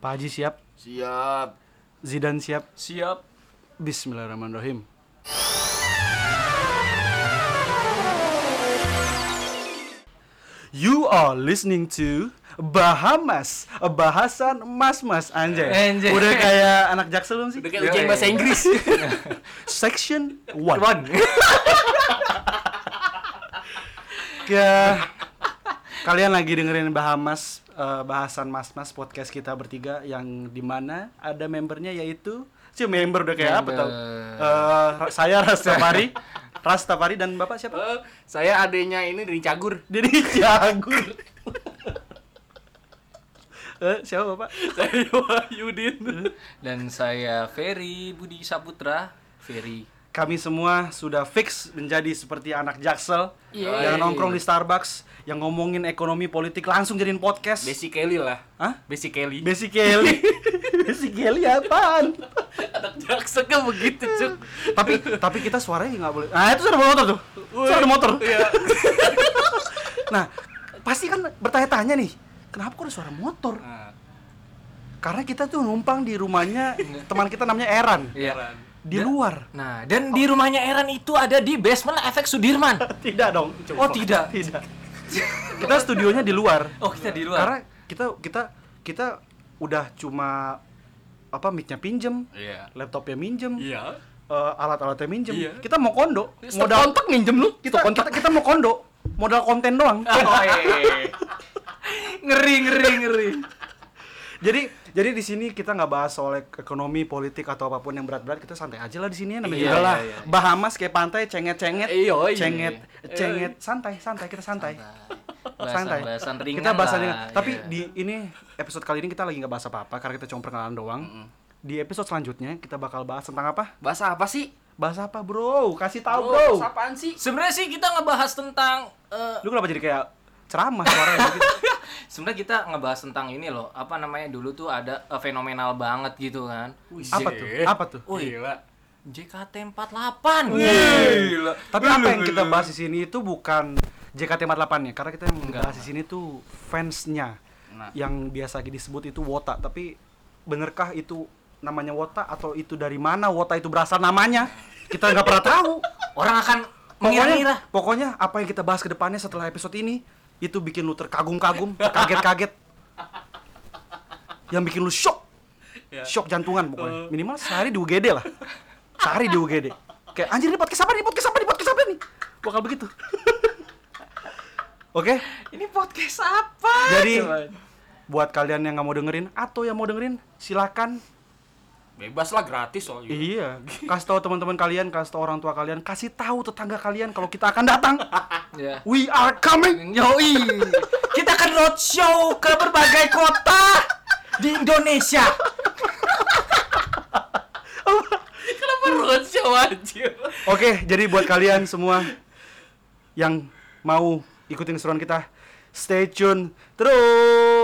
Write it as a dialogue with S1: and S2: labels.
S1: Pak Haji siap,
S2: Siap.
S1: Zidan siap,
S3: Siap.
S1: Bismillahirrahmanirrahim. You are listening to Bahamas, bahasan mas-mas anjay.
S3: Anjay.
S1: Udah kayak anak jaksel belum sih?
S2: Udah kayak
S3: Ya,
S2: ujian bahasa Inggris.
S1: Section 1.
S3: One.
S1: Ya. Kalian lagi dengerin Bahamas eh, bahasan mas-mas podcast kita bertiga yang dimana ada membernya yaitu si member udah kayak apa
S3: Member.
S1: tau? Eh, Ra- saya Rastafari, Rastafari dan bapak siapa?
S2: Eh, saya adenya ini dari Cagur.
S1: Jadi Jagur. Eh, siapa bapak?
S2: Saya Yudin.
S3: Dan saya Ferry Budi Saputra. Ferry.
S1: Kami semua sudah fix menjadi seperti anak jaksel
S2: Iya.
S1: yang nongkrong di Starbucks, yang ngomongin ekonomi politik langsung jadiin podcast.
S2: Basic Kelly lah.
S1: Hah?
S2: Basic Kelly.
S1: Basic Kelly. Basic Kelly apaan?
S2: Anak jaksa kan begitu, Cuk.
S1: tapi tapi kita suaranya nggak boleh nah itu suara motor tuh suara motor nah pasti kan bertanya-tanya nih kenapa kok ada suara motor
S2: Nah,
S1: karena kita tuh numpang di rumahnya teman kita namanya Eran
S3: Iya.
S1: di luar
S3: Nah, dan di rumahnya Eran itu ada di basement efek Sudirman.
S1: tidak dong
S3: Oh, tidak.
S1: tidak kita studionya di luar
S3: Oh, kita di
S1: karena
S3: luar.
S1: kita kita kita udah cuma apa micnya pinjem
S2: Iya.
S1: laptopnya minjem
S2: Iya.
S1: eh, alat-alatnya minjem
S2: Iya.
S1: kita mau kondo
S2: Modal
S1: modal
S2: kontak minjem lu.
S1: kita, kita kita mau kondo modal konten doang
S2: Ah. iya,
S3: ngeri ngeri ngeri.
S1: jadi jadi di sini kita nggak bahas soal ek- ekonomi politik atau apapun yang berat-berat kita santai aja lah di sini namanya
S2: Iya,
S1: juga lah
S2: iya, iya.
S1: Bahamas kayak pantai cenget-cenget
S2: Iya, iya.
S1: cenget
S2: Iya.
S1: cenget santai santai kita santai
S3: Bahasan bahasan ringan.
S1: kita bahas
S3: lah,
S1: ringan. tapi
S3: iya.
S1: di ini episode kali ini kita lagi nggak bahas apa-apa karena kita cuma perkenalan doang di episode selanjutnya kita bakal bahas tentang apa
S2: Bahasa apa sih?
S1: bahas apa bro kasih tahu
S2: Bro,
S1: bro
S2: bahasa apaan sih?
S3: sebenarnya sih kita ngebahas tentang eh,
S1: lu kenapa jadi kayak ceramah suaranya gitu?
S3: sebenarnya kita ngebahas tentang ini loh apa namanya dulu tuh ada eh, fenomenal banget gitu kan
S1: apa tuh apa tuh
S2: Gila.
S3: JKT48 gila
S1: Tapi apa yang kita bahas di sini itu bukan JKT48 nya ya? karena kita yang bahas di sini tuh fansnya
S2: Nah.
S1: yang biasa disebut itu Wota tapi benerkah itu namanya Wota atau itu dari mana Wota itu berasal namanya kita nggak pernah tahu
S3: orang akan mengira-ngira
S1: pokoknya pokoknya apa yang kita bahas ke depannya setelah episode ini itu bikin lu terkagum-kagum kaget-kaget yang bikin lu shock
S2: Ya.
S1: shock jantungan pokoknya minimal sehari di UGD lah sehari di UGD kayak anjir ini podcast apa nih podcast apa nih podcast apa nih bakal begitu oke
S3: ini podcast apa
S1: jadi
S3: Coba.
S1: buat kalian yang nggak mau dengerin atau yang mau dengerin silakan
S2: Bebas lah gratis soalnya.
S3: gitu.
S1: iya kasih tahu teman-teman kalian kasih tahu orang tua kalian kasih tahu tetangga kalian kalau kita akan datang
S3: ya
S1: we are coming
S3: yoi kita akan roadshow ke berbagai kota di Indonesia
S2: Kenapa roadshow anjir?
S1: Oke, jadi buat kalian semua yang mau ikutin seruan kita, stay tune terus.